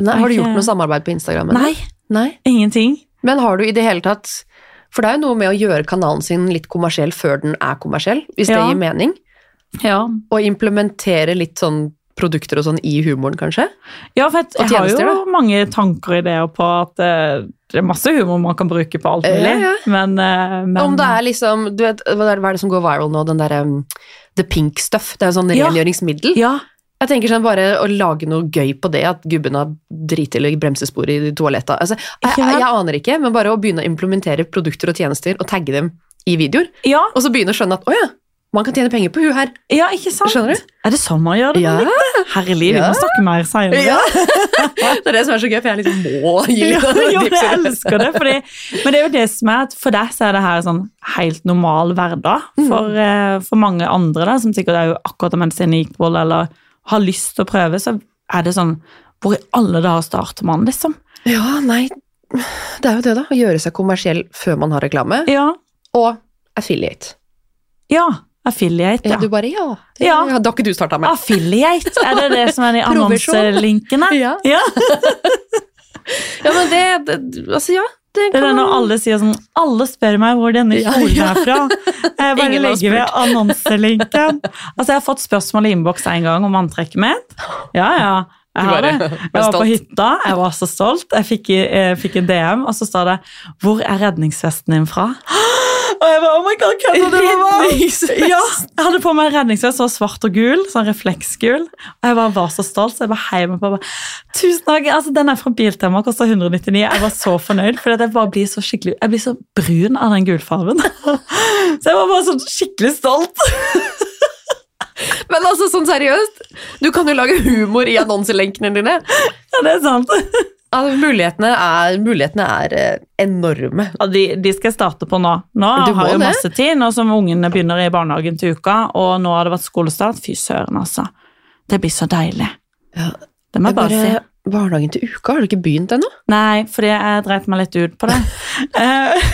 Nei, har du gjort
Ikke-
noe samarbeid på Instagram? eller?
Nei,
Nei.
ingenting.
Men har du i det hele tatt For det er jo noe med å gjøre kanalen sin litt kommersiell før den er kommersiell, hvis det
Ja.
gir mening.
Ja,
Og implementere litt sånn produkter og sånn i humoren, kanskje?
ja for jeg,
Og
jeg har
tjenester,
jo mange tanker og ideer på at eh, det er masse humor man kan bruke på alt
Ja,
mulig,
ja.
men, eh, men
Om det er liksom du vet, Hva er det- hva er det som går viral nå? Den derre um, The Pink Stuff. Det er jo sånn
Ja.
rengjøringsmiddel.
Ja,
Jeg tenker sånn bare å lage noe gøy på det, at gubben har driti eller bremsespor i toalettet. Altså, jeg,
Ja.
jeg, jeg aner ikke, men bare å begynne å implementere produkter og tjenester og tagge dem i videoer,
ja,
og så begynne å skjønne at å ja, man kan tjene penger på hun her.
ja, ikke sant?
Skjønner du?
Er det sånn man gjør det?
Ja.
Herlig, vi
Ja.
må snakke mer senere.
Ja. Det er det som er så gøy, for jeg liksom må gi litt av
jo, jeg
tipser.
elsker det. Fordi, men det er jo det som er at for deg så er det her sånn helt normal hverdag.
Mm.
For, eh, for mange andre da, som sikkert er jo akkurat om en scenikvold eller har lyst til å prøve, så er det sånn Hvor i alle dager starter man, liksom?
Ja, nei, det er jo det, da. Å gjøre seg kommersiell før man har reklame.
Ja.
Og affiliate.
ja affiliate, ja.
Ja. Du bare ja. Ah, Det
Ja.
hadde ikke du starta med.
Affiliate, er det det som er de
Provisjon.
annonselinkene?
Ja.
Ja,
ja, men det, det Altså, ja. Det
det er det
kan
når alle sier sånn Alle spør meg hvor denne
Ja,
kjolen
ja.
er fra. Jeg bare
Ingen har
legger ved annonselinken. Altså, jeg har fått spørsmål i innboks en gang om antrekket mitt. Ja, ja. Jeg
Du
har
bare
det.
var
Jeg var på
stolt.
hytta, jeg var så stolt. Jeg fikk, jeg fikk en DM, og så sa det 'Hvor er redningsvesten din fra?' Og jeg bare 'Oh my God, hvem er det det var?'
Redningsvest.
Ja, jeg hadde på meg redningsvest som var svart og gul, sånn refleksgul. Og jeg bare var så stolt, så jeg bare heiv meg på. og Bare, Tusen takk! Altså, den er fra Biltema, koster 199. Jeg var så fornøyd, for jeg bare blir så skikkelig Jeg blir så brun av den gulfargen. Så jeg var bare så skikkelig stolt.
Men altså, sånn seriøst, du kan jo lage humor i annonselenkene dine.
Ja, det er sant.
Altså, mulighetene er, mulighetene er eh, enorme.
Ja, de, de skal jeg starte på nå. Nå
Du må
har jeg
det.
jo masse tid, nå som ungene begynner i barnehagen til uka, og nå har det vært skolestart. Fy søren, altså. Det blir så deilig.
Ja,
Det må jeg bare si.
Barnehagen til uka, har du ikke begynt ennå?
Nei, fordi jeg dreit meg litt ut på det. Eh,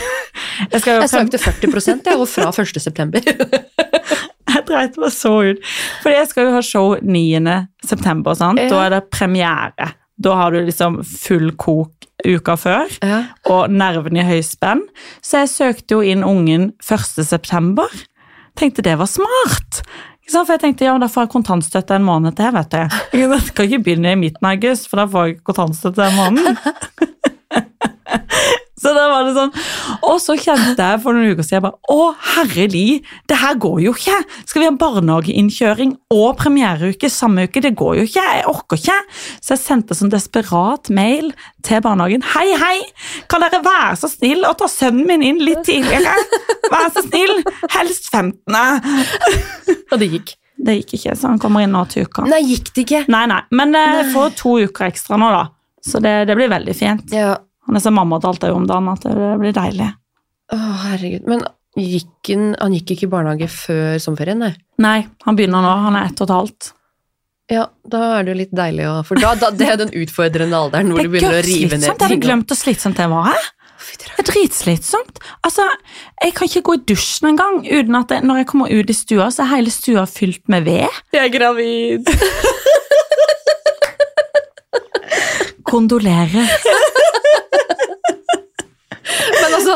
jeg, skal jo
Jeg
frem,
søkte 40 jeg, og fra 1. september.
jeg dreit meg så ut. Fordi jeg skal jo ha show 9. september, sant?
Ja.
Da er det premiere. Da har du liksom full kok uka før,
Ja.
og nervene i høyspenn. Så jeg søkte jo inn ungen 1. september. Tenkte det var smart. Ikke Ikke sant? For jeg tenkte ja, men da får jeg kontantstøtte en måned til, vet du. Ikke sant? Jeg kan ikke begynne i midten av august, for da får jeg ikke kontantstøtte den måneden. Så da var det sånn. Og så kjente jeg for noen uker siden jeg bare Å, herreli, det her går jo ikke! Skal vi ha barnehageinnkjøring og premiereuke samme uke? Det går jo ikke! Jeg orker ikke! Så jeg sendte sånn desperat mail til barnehagen. Hei, hei! Kan dere være så snill å ta sønnen min inn litt tidligere? Vær så snill! Helst 15.
Og det gikk.
Det gikk ikke, så han kommer inn nå til uka.
Nei, gikk det ikke?
Nei, nei. Men eh, jeg får to uker ekstra nå, da. Så det, det blir veldig fint.
Ja,
Han er så mamma til alt det er jo om dagen at det blir deilig.
Å, herregud. Men gikk han, han gikk ikke i barnehage før sommerferien, nei?
Nei, han begynner nå. Han er ett og et halvt.
Ja, da er det jo litt deilig å For da, da, det er den utfordrende alderen hvor du begynner å rive ned
Jeg hadde
ting.
glemt hvor slitsomt det var. hæ?
Fy, dere-
Det er dritslitsomt. Altså, jeg kan ikke gå i dusjen engang uten at jeg, når jeg kommer ut i stua, så er hele stua fylt med ved.
Jeg er gravid!
Kondolerer.
Men altså,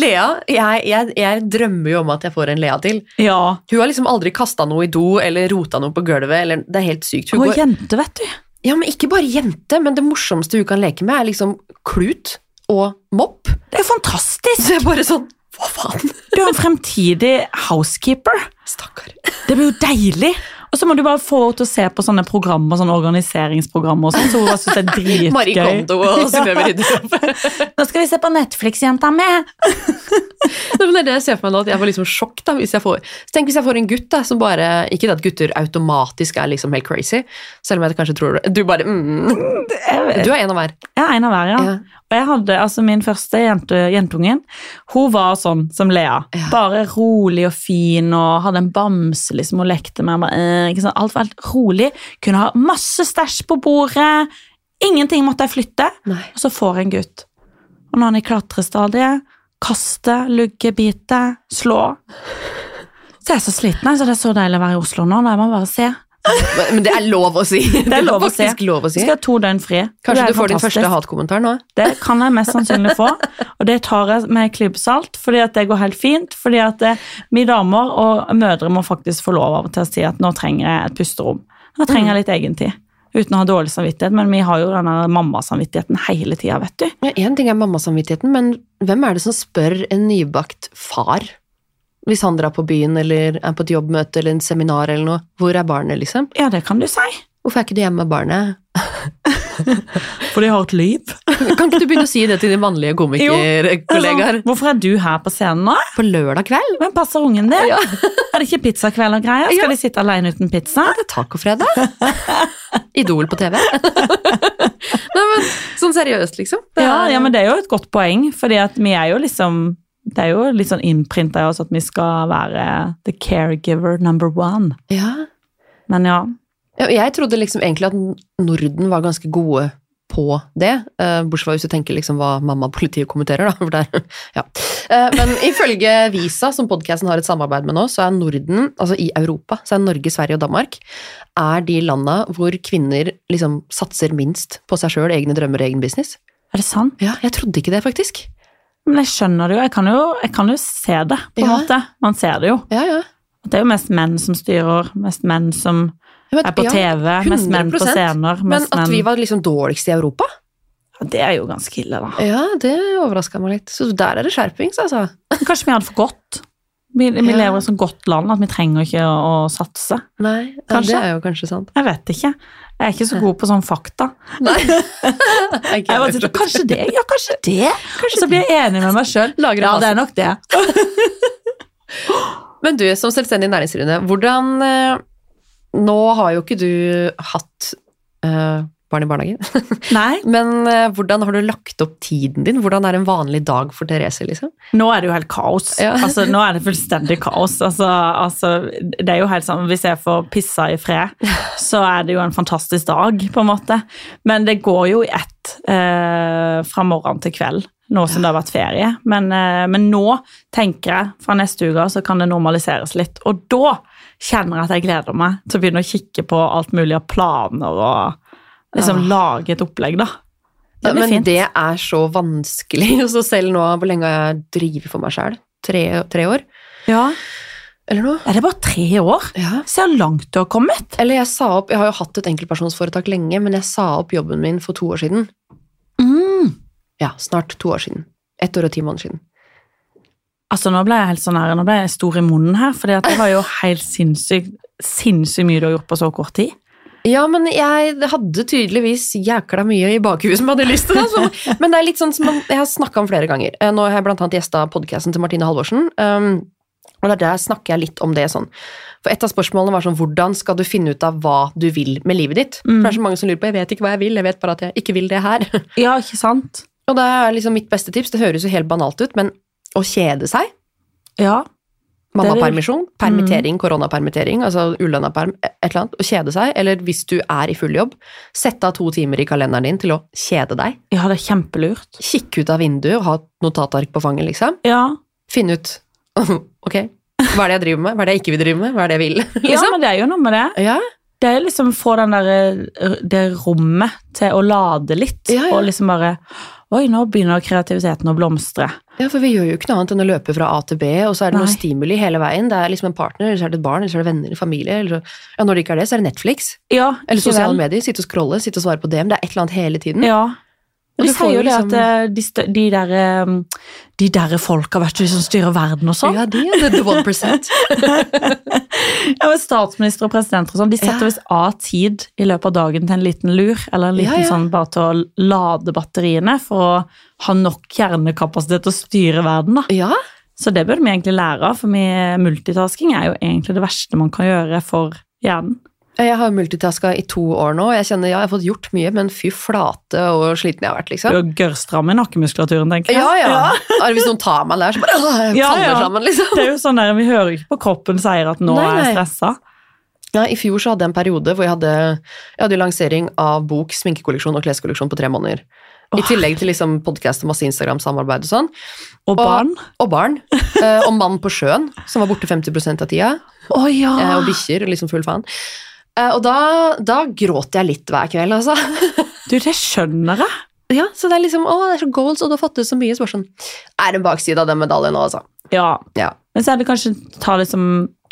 Lea jeg, jeg, jeg drømmer jo om at jeg får en Lea til.
Ja.
Hun har liksom aldri kasta noe i do eller rota noe på gulvet. Eller, det er helt sykt. Hun
Og
går,
jente, vet du.
ja, men Ikke bare jente, men det morsomste hun kan leke med, er liksom klut og mopp.
Det er jo fantastisk!
Så jeg bare sånn Hva faen?
Du er en fremtidig housekeeper.
Stakkar.
Det blir jo deilig! Og så må du bare få henne til å se på sånne programmer, sånne organiseringsprogrammer og sånn, så hun bare synes det er
Marie
dritgøy.
Kondo og Synnøve Rydderup.
Nå skal vi se på Netflix, jenta mi!
Nei, men Det er det jeg ser for meg nå, at jeg får liksom sjokk da, hvis jeg får Så Tenk hvis jeg får en gutt da, som bare Ikke det at gutter automatisk er liksom helt crazy, selv om jeg kanskje tror det. Du bare mm,
Jeg
Du er en av hver.
jeg er en av hver, ja.
Ja.
Og jeg hadde, altså min første jente, jentungen, hun var sånn som Lea.
Ja.
Bare rolig og fin, og hadde en bamse liksom, hun lekte med. Bare, eh, ikke sant? Alt var helt rolig. Kunne ha masse stæsj på bordet. Ingenting måtte jeg flytte.
Nei.
Og så får jeg en gutt. Og nå er han i klatrestadiet. Kaste, lugge, bite, slå. Så jeg er så sliten, altså. Det er så deilig å være i Oslo nå. Da må jeg bare se.
Men, men det er lov å si. Det
lov å si.
faktisk lov å
Vi
si.
skal ha to døgn fri. Det
Kanskje
er
du får din
fantastisk.
første hatkommentar nå?
Det kan jeg mest sannsynlig få, og det tar jeg med en klype salt, fordi at det går helt fint. fordi at eh, vi damer og mødre må faktisk få lov av og til å si at nå trenger jeg et pusterom. Nå trenger jeg litt egentid. Uten å ha dårlig samvittighet, men vi har jo denne mammasamvittigheten hele tida, vet du.
Ja, en ting er mammasamvittigheten, men hvem er det som spør en nybakt far? Hvis han drar på byen, eller er på et jobbmøte eller en seminar eller noe. Hvor er barnet, liksom?
Ja, det kan du si.
Hvorfor er ikke du hjemme med barnet?
For de har et liv.
Kan ikke du begynne å si det til dine mannlige komikerkollegaer
Altså, Hvorfor er du her på scenen nå?
på lørdag kveld?
Hvem passer ungen din?
Ja.
Er det ikke pizzakveld og greier? Skal de sitte alene uten pizza?
Det er tacofredag. Idol på TV. Nei, men sånn seriøst, liksom. Det
Ja,
er-
ja, men det er jo et godt poeng, fordi at vi er jo liksom det er jo litt sånn innprinta i oss at vi skal være the caregiver number one.
ja.
Men ja.
Ja, Jeg trodde liksom egentlig at Norden var ganske gode på det, eh, bortsett fra hvis du tenker liksom hva mamma og politiet kommenterer, da. For der, ja. Eh, Men ifølge Visa, som podkasten har et samarbeid med nå, så er Norden, altså i Europa, så er Norge, Sverige og Danmark, er de landa hvor kvinner liksom satser minst på seg sjøl, egne drømmer og egen business.
Er det sant?
Ja, jeg trodde ikke det, faktisk.
Men jeg skjønner det jo. Jeg kan jo, jeg kan jo se det, på en
Ja.
måte. Man ser det jo.
Ja, ja.
Det er jo mest menn som styrer, mest menn som
Men-
er på
ja,
TV, mest menn på
100%.
scener.
Men
Mest
at vi
menn.
var liksom dårligst i Europa?
Ja, Det er jo ganske ille, da.
Ja, det overraska meg litt. Så der er det skjerpings, altså.
Men kanskje vi hadde for godt. Vi, vi
Ja.
lever i et så godt land at vi trenger ikke å, å satse.
Nei, ja, det
Kanskje.
er jo kanskje sant.
Jeg vet ikke. Jeg er ikke så god på sånn fakta.
Nei.
Jeg bare
sånn,
sitter, kanskje det, ja, kanskje det. Og så blir jeg enig med meg sjøl.
Lager en
Ja,
fasit.
det er nok det.
Men du, som selvstendig næringsdrivende, hvordan eh, Nå har jo ikke du hatt eh, barn i barnehagen,
Nei,
men eh, hvordan har du lagt opp tiden din? Hvordan er en vanlig dag for Therese, liksom?
nå er det jo helt kaos.
Ja.
Altså, nå er det fullstendig kaos. Altså, altså, det er jo helt sånn, Hvis jeg får pissa i fred, så er det jo en fantastisk dag, på en måte. Men det går jo i ett eh, fra morgen til kveld, nå som det har vært ferie. Men, eh, men nå tenker jeg, fra neste uke av, så kan det normaliseres litt. Og da kjenner jeg at jeg gleder meg til å begynne å kikke på alt mulig av planer og liksom lage et opplegg, da. Det blir
men
fint.
det er så vanskelig. Og så selv nå, hvor lenge har jeg drevet for meg sjøl? Tre, tre år?
Ja.
eller noe.
Er det bare tre år?
Ja.
Se hvor langt du har kommet.
Eller jeg sa opp, jeg har jo hatt et enkeltpersonsforetak lenge, men jeg sa opp jobben min for to år siden.
Mm.
Ja, snart to år siden. Ett år og ti måneder siden.
Altså, nå ble jeg helt sånn her, nå ble jeg stor i munnen her, for det var jo helt sinnssykt sinnssykt mye du har gjort på så kort tid.
Ja, men jeg hadde tydeligvis jækla mye i bakhuet som hadde lyst til det. Så, men det er litt sånn som man, jeg har snakka om flere ganger. Eh, Nå har jeg blant annet gjesta podkasten til Martine Halvorsen. Um, og der, der snakker jeg litt om det sånn. For et av spørsmålene var sånn hvordan skal du finne ut av hva du vil med livet ditt? For det er så mange som lurer på jeg vet ikke hva jeg vil, jeg vet bare at jeg ikke vil det her.
Ja, ikke sant?
Og da er liksom mitt beste tips, det høres jo helt banalt ut, men å kjede seg
Ja.
Mammapermisjon,
Mm.
permittering, koronapermittering, altså ulønna perm, et eller annet. Å kjede seg, eller hvis du er i full jobb, sett av to timer i kalenderen din til å kjede deg.
Ja, det er kjempelurt.
Kikke ut av vinduet og ha et notatark på fanget, liksom.
Ja.
Finne ut Ok, hva er det jeg driver med? Hva er det jeg ikke vil drive med? Hva er det jeg vil?
ja,
Liksom.
men det er jo noe med det.
Ja,
Det er liksom å få den der, eh, det rommet til å lade litt,
Ja, ja.
og liksom bare Oi, nå begynner kreativiteten å blomstre.
ja, for vi gjør jo ikke noe annet enn å løpe fra A til B, og så er det noe
Nei.
stimuli hele veien. Det er liksom en partner, eller så er det et barn, eller så er det venner, familie, eller så Ja, når det ikke er det, så er det Netflix.
Ja,
Eller
ikke
sosiale
vel?
medier. Sitte og scrolle, sitte og svare på DM. Det er et eller annet hele tiden.
Ja.
Og
Mm. Og de
du får
sier
jo
jo det
liksom-
at eh, de, stø- de der eh, De der folka, vet du, som styrer verden og sånn.
Ja, det er the one percent.
Ja, men Statsminister og presidenter og sånn, de setter
Ja.
visst av tid i løpet av dagen til en liten lur, eller en liten
Ja, ja.
sånn bare til å lade batteriene for å ha nok hjernekapasitet til å styre verden, da.
Ja,
Så det burde vi egentlig lære av, for vi- multitasking er jo egentlig det verste man kan gjøre for hjernen.
jeg har multitaska i to år nå. og Jeg kjenner, ja, jeg har fått gjort mye, men fy flate og sliten jeg har vært,
Du
liksom.
er gørrstram i nakkemuskulaturen, tenker jeg.
Ja, ja. Bare hvis noen tar meg der, så bare åh, jeg
Ja,
faller
ja.
sammen, liksom.
Det er jo sånn der, Vi hører ikke på kroppen sier at 'nå
Nei,
er jeg
nei.
stressa'.
Ja, I fjor så hadde jeg en periode hvor jeg hadde, jeg hadde jo lansering av bok, sminkekolleksjon og kleskolleksjon på tre måneder. I
Åh.
tillegg til liksom podkast og masse Instagram-samarbeid og sånn.
Og barn.
Og barn. eh, Og mann på sjøen, som var borte 50 av tida.
Å ja!
eh, Og bikkjer. Liksom full faen. Eh, Og da, da gråt jeg litt hver kveld, altså.
Du, det skjønner jeg.
Ja, så det er liksom, å, det er så goals, og du har fått ut så mye. Så bare sånn, er det en bakside av den medaljen nå, altså?
Ja.
Ja.
Men så er det kanskje ta liksom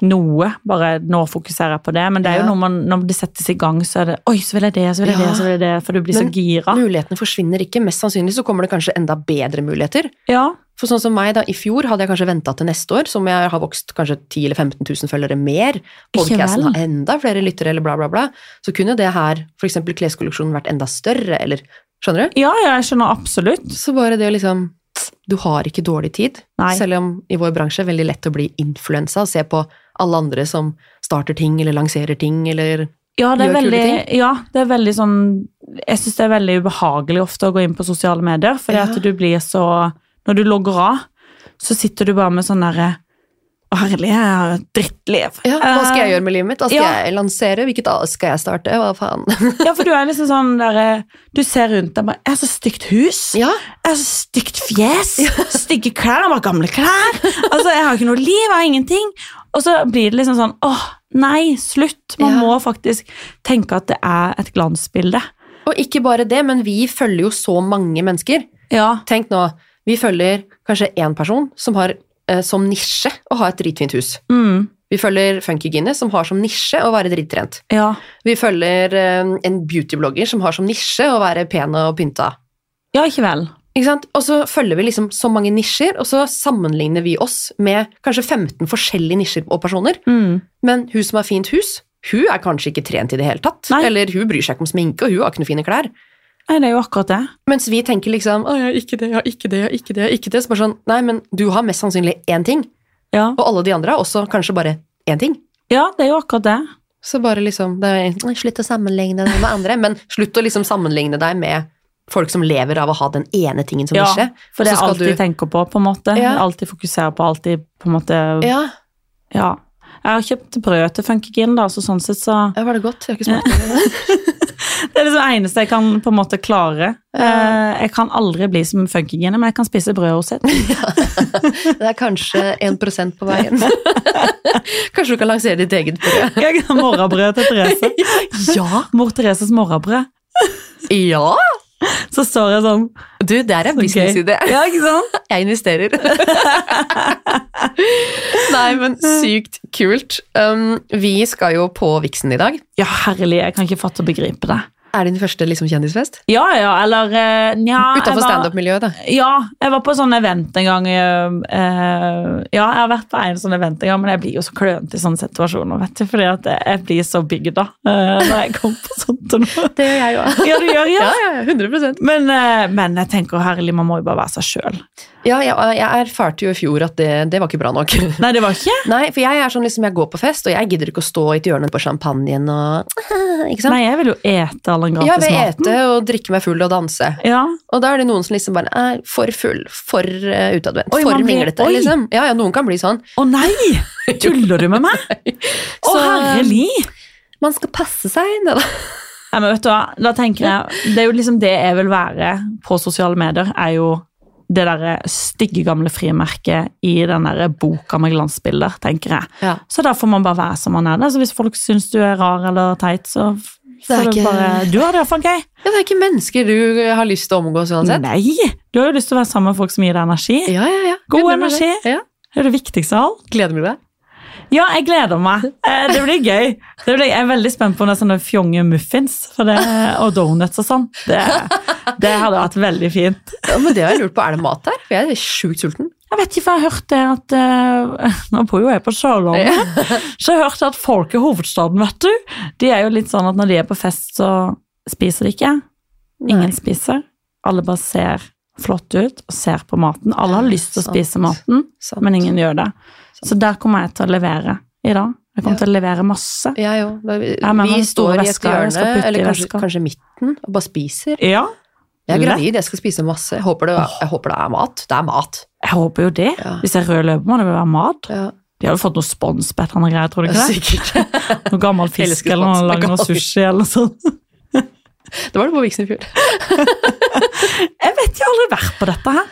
noe, bare nå fokuserer jeg på det. Men det er jo
Ja.
når, man, når det settes i gang, så er det 'oi, så vil jeg det, så vil jeg
Ja.
det', så vil jeg det, for du blir
Men-
så gira.
Mulighetene forsvinner ikke. Mest sannsynlig så kommer det kanskje enda bedre muligheter.
Ja.
For sånn som meg da, i fjor hadde jeg kanskje venta til neste år, som jeg har vokst kanskje 10 eller 15 000 følgere mer.
vel.
Podcasten har enda flere lyttere, eller bla, bla, bla. Så kunne det her, f.eks. kleskolleksjonen, vært enda større, eller Skjønner du?
ja, ja, jeg skjønner absolutt.
Så bare det å liksom Du har ikke dårlig tid.
Nei.
Selv om i vår bransje er det veldig lett å bli influensa og se på alle andre som starter ting, eller lanserer ting, eller
Ja, det er
Gjør kule
veldig, ja, det er veldig sånn Jeg syns det er veldig ubehagelig ofte å gå inn på sosiale medier, fordi
Ja.
at du blir så Når du logger av, så sitter du bare med sånn derre Å, herlig, jeg har et drittliv.
Ja, hva skal jeg gjøre med livet mitt? Hva skal
Eh, ja.
jeg lansere? Hvilket A skal jeg starte? Hva faen?
Ja, for du er liksom sånn derre Du ser rundt deg bare Jeg har så stygt hus.
Ja,
Jeg har så stygt fjes. Stygge klær. Jeg har bare gamle klær. Altså, Jeg har ikke noe liv. Jeg har ingenting. Og så blir det liksom sånn Åh, nei, slutt. Man
Ja.
må faktisk tenke at det er et glansbilde.
og ikke bare det, men vi følger jo så mange mennesker.
Ja.
Tenk nå, vi følger kanskje én person som har eh, som nisje å ha et dritfint hus.
Mm.
Vi følger Funky Guinness som har som nisje å være drittrent.
Ja.
Vi følger eh, en beautyblogger som har som nisje å være pen og pynta.
Ja, ikke vel.
Ikke sant? Og så følger vi liksom så mange nisjer, og så sammenligner vi oss med kanskje 15 forskjellige nisjer og personer.
Mm.
Men hun som har fint hus, hun er kanskje ikke trent i det hele tatt.
Nei.
Eller hun bryr seg ikke om sminke, og hun har ikke noen fine klær.
Nei, det er jo akkurat det.
Mens vi tenker liksom å, jeg har ikke det, jeg har ikke det, jeg har ikke det. Jeg har ikke det. Så bare sånn, Nei, men du har mest sannsynlig én ting,
Ja.
og alle de andre har også kanskje bare én ting.
ja, det er jo akkurat det.
Så bare liksom det er, Slutt å sammenligne deg med andre, men slutt å liksom sammenligne deg med folk som lever av å ha den ene tingen som
Ja,
nisje.
For det er
Så skal
alt de
du-
tenker på, på en måte.
Ja.
Alt de fokuserer på, alt de på en måte Ja.
Ja,
Jeg har kjøpt brød til Funkygin, da, så sånn sett så
ja, var det godt? Jeg har ikke smakt på det.
Det er liksom det eneste jeg kan på en måte klare.
Ja.
Eh, Jeg kan aldri bli som Funkygin, men jeg kan spise brød hos henne.
Det er kanskje 1 på veien. Kanskje du kan lansere ditt eget brød?
Jeg kan morrabrød til Therese.
Ja!
Mor Thereses morrabrød.
Ja!
Så står jeg sånn
Du, det er en
ok.
businessidé.
Ja, ikke sant?
Jeg investerer. Nei, men sykt kult. Um, vi skal jo på Vixen i dag.
Ja, herlig. Jeg kan ikke fatte og begripe det.
Er det din første liksom, kjendisfest?
Ja, ja, eller eh, Nja. jeg
Utenfor
var-
standup-miljøet, da.
Ja, jeg var på sånn event en gang. eh, eh, ja, jeg har vært på en sånn event en gang, men jeg blir jo så klønete i sånne situasjoner, vet du. Fordi at jeg- jeg blir så bygda eh, når jeg kommer på sånt. Og noe.
Det gjør jeg òg.
Ja, du gjør ja.
Ja, ja, 100
Men, eh, men jeg tenker, herlig, man må jo bare være seg sjøl.
Ja, jeg, jeg erfarte jo i fjor at det, det var ikke bra nok.
Nei, det var ikke?
Nei, for jeg er sånn liksom, jeg går på fest, og jeg gidder ikke å stå i et hjørne på champagnen og Ikke sant?
Nei, jeg vil jo ete all den
Ja, jeg vil
gratismaten.
ete og drikke meg full og danse.
Ja,
Og da er det noen som liksom bare er for full, for eh, utadvendt,
Oi,
for
man blir-
minglete,
oi.
liksom. Ja, ja, noen kan bli sånn.
Å nei! Tuller du med meg? Å
Så-
herlig!
Man skal passe seg. Da.
Nei, men vet du hva, da tenker jeg Det er jo liksom det jeg vil være på sosiale medier, er jo det derre stygge gamle frimerket i den derre boka med glansbilder, tenker jeg.
Ja.
Så da får man bare være som man er. Da. Så hvis folk syns du er rar eller teit, så f-
Det er
får du
ikke-
bare Du har det iallfall gøy.
ja, det er ikke mennesker du eh, har lyst til å omgås uansett.
Nei! Du har jo lyst til å være sammen med folk som gir deg energi.
Ja, ja, ja.
God
Gleder meg til
energi.
det. Ja.
Det er det viktigste av alt.
Gleder meg til det.
Ja, jeg gleder meg. Eh, Det blir gøy. Det blir, jeg er veldig spent på noen sånne fjonge muffins for det, og donuts og sånn. Det, det hadde vært veldig fint.
Ja, men det har jeg lurt på, er det mat her? For jeg er sjukt sulten.
Jeg vet ikke, for jeg hørte at eh, Nå bor jo jeg på Sørlandet, så jeg hørte at folk i hovedstaden, vet du, de er jo litt sånn at når de er på fest, så spiser de ikke. Ingen spiser. Alle bare ser flott ut og ser på maten. Alle har lyst til å
Sant.
spise maten,
Sant.
men ingen gjør det. Så der kommer jeg til å levere i dag. Jeg kommer til å levere masse.
Ja, jo. Da, vi
Ja, men
vi
den store
står i et
veska, jeg skal
hjørne,
putte i
eller kanskje,
veska.
kanskje midten, og bare spiser.
Ja,
Jeg er
Lett.
gravid, jeg skal spise masse. Jeg håper det, jeg håper det er mat. Det er mat.
Jeg håper jo det.
Ja.
Hvis det er rød løper, må det vel være mat.
Ja,
De hadde fått noe spons på et eller annet greier, tror du ikke det?
sikkert.
Noe gammel fisk
Elsker
eller noe,
spons.
lage noe
Gammel fisk.
sushi eller sånn.
Det var det på Vixen i fjor.
Jeg vet, jeg har aldri vært på dette her.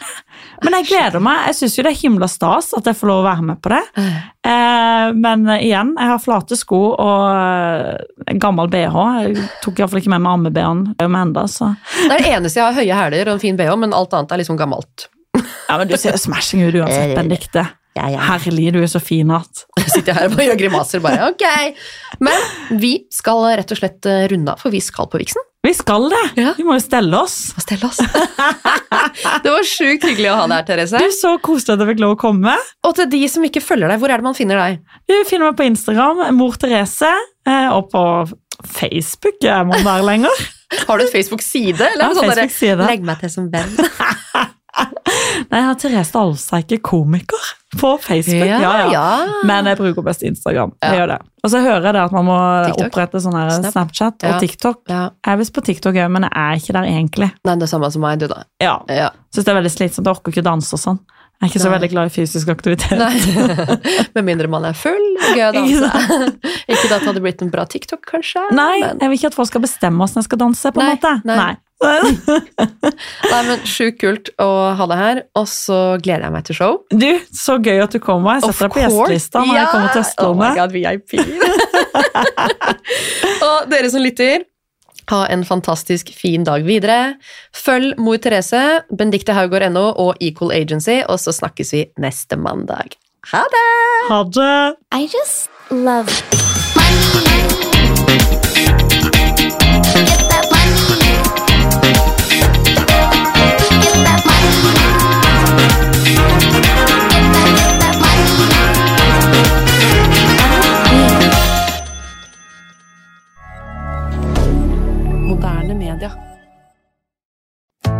Men jeg gleder meg. Jeg syns jo det er himla stas at jeg får lov å være med på det. Eh, men igjen, jeg har flate sko og eh, en gammel bh. Jeg tok iallfall ikke med meg amme-bh-en med enda, så
Det er det eneste jeg har høye hæler og en fin bh, men alt annet er liksom gammelt.
Ja, men du ser jo smashing ut uansett, Benedicte. Herlig, du er så fin at
Jeg sitter her og bare gjør grimaser, bare ok. Men vi skal rett og slett eh, runde av, for vi skal på Vixen.
Vi skal det!
Ja.
Vi må jo stelle oss.
Og stelle oss. Det var sjukt hyggelig å ha deg her, Therese.
Du, så koselig at jeg fikk lov å komme.
Og til de som ikke følger deg, hvor er det man finner deg?
Du finner meg på Instagram, Mor Therese, eh, og på Facebook. Jeg må være lenger.
Har du en Facebook-side?
Ja,
Eller er det sånn derre,
Facebook-side.
Legg meg til som venn.
Nei, jeg har Therese Alseike, komiker, på Facebook.
Ja,
Ja, ja.
ja.
Men jeg bruker best Instagram.
Ja.
Jeg gjør det. Og så hører jeg det at man må
TikTok.
opprette sånn her
Snap.
Snapchat og
Ja.
TikTok.
ja.
Jeg er visst på TikTok òg, men jeg er ikke der egentlig.
Nei, det er samme som meg, du, da.
Ja,
Ja.
Syns det er veldig slitsomt. Jeg orker ikke å danse og sånn. Jeg er ikke så
Nei.
veldig glad i fysisk aktivitet.
Nei. Med mindre man er full. Gøy å
Ikke
danse. Ikke at det hadde blitt en bra TikTok, kanskje.
Nei,
Men,
jeg vil ikke at folk skal bestemme åssen jeg skal danse. på en
Nei,
måte.
nei.
Nei.
nei, men Sjukt kult å ha deg her, og så gleder jeg meg til show.
Du, så gøy at du kommer. Jeg
Of
setter deg på
course.
gjestelista når jeg
Ja.
kommer til Østlandet.
Oh my god, VIP. og dere som lytter, ha en fantastisk fin dag videre. Følg Mor Therese, Benedicte Haugård.no og Equal Agency, og så snakkes vi neste mandag. Ha det!
Ha det!
I just love
Money now. Get that money now. Get that money now. Get that, get that money now.
Moderne media.